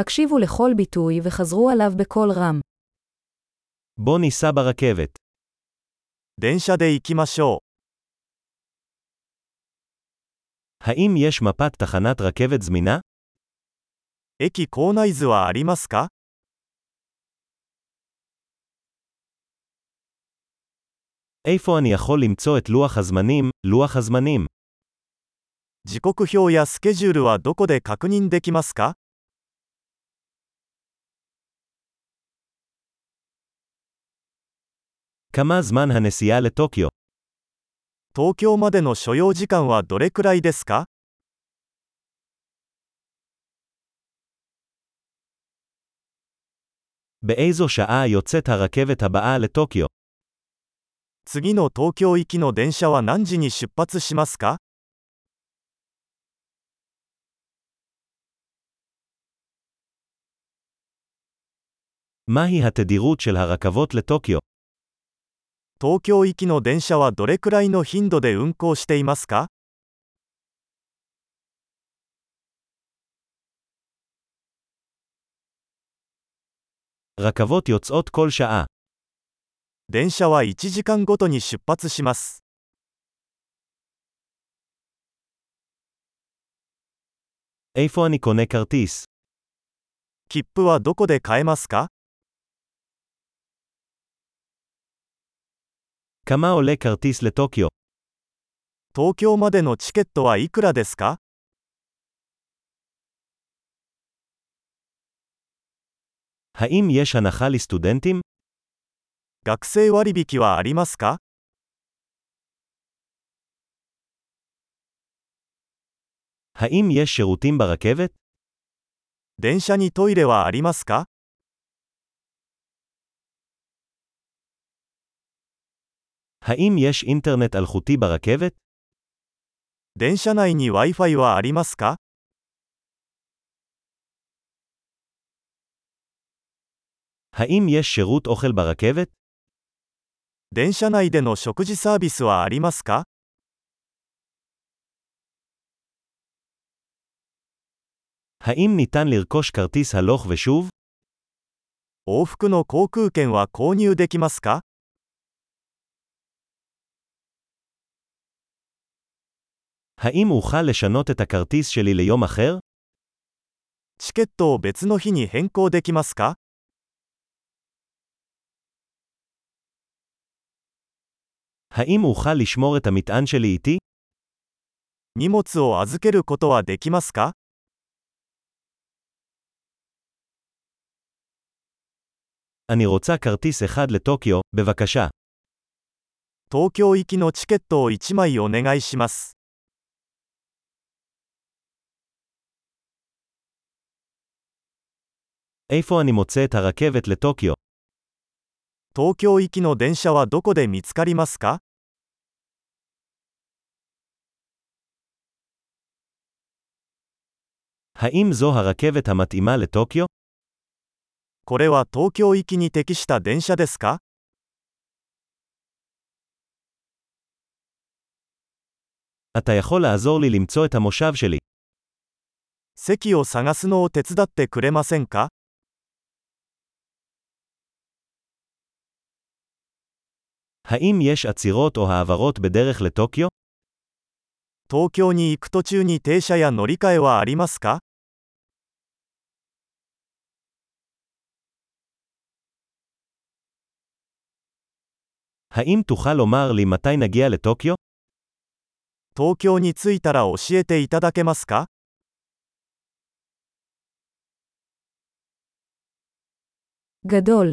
הקשיבו לכל ביטוי וחזרו עליו בקול רם. בוא ניסע ברכבת. 電車で行きましょ האם יש מפת תחנת רכבת זמינה? う。駅構内図はありますか איפה אני יכול למצוא את לוח הזמנים, לוח הזמנים? 時刻表やスケジュールはどこで確認できますか כמה זמן הנסיעה לטוקיו? 東京までの所要時間はどれくらいですか באיזו שעה יוצאת הרכבת הבאה לטוקיו? 次の東京行きの電車は何時に出発しますか מהי התדירות של הרכבות לטוקיו? 東京行きの電車はどれくらいの頻度で運行していますか רכבות יוצאות כל שעה. 電車は1時間ごとに出発します。 איפה אני קונה כרטיס? 切符はどこで買えますか כמה עולה כרטיס לטוקיו? 東京までのチケットはいくらですか האם יש הנחה לסטודנטים? 学生割引はありますか האם יש שירותים ברכבת? 電車にトイレはありますか האם יש אינטרנט אלחוטי ברכבת? 電車内に Wi-Fi はありますか האם יש שירות אוכל ברכבת? 電車内での食事サービスはありますか האם ניתן לרכוש כרטיס הלוך ושוב? 往復の航空券は購入できますか האם אוכל לשנות את הכרטיס שלי ליום אחר? チケットを別の日に変更できますか האם אוכל לשמור את המטען שלי איתי? 荷物を預けることはできますか אני רוצה כרטיס אחד לטוקיו, בבקשה. 東京行きのチケットを1枚お願いします。 איפה אני מוצא את הרכבת לטוקיו? 東京行きの電車はどこで見つかりますか האם זו הרכבת המתאימה לטוקיו? これは東京行きに適した電車ですか אתה יכול לעזור לי למצוא את המושב שלי. 席を探すのを手伝ってくれませんか האם יש עצירות או העברות בדרך לטוקיו? 東京に行く途中に停車や乗り換えはありますか האם תוכל לומר לי מתי נגיע לטוקיו? 東京に着いたら教えていただけますか גדול,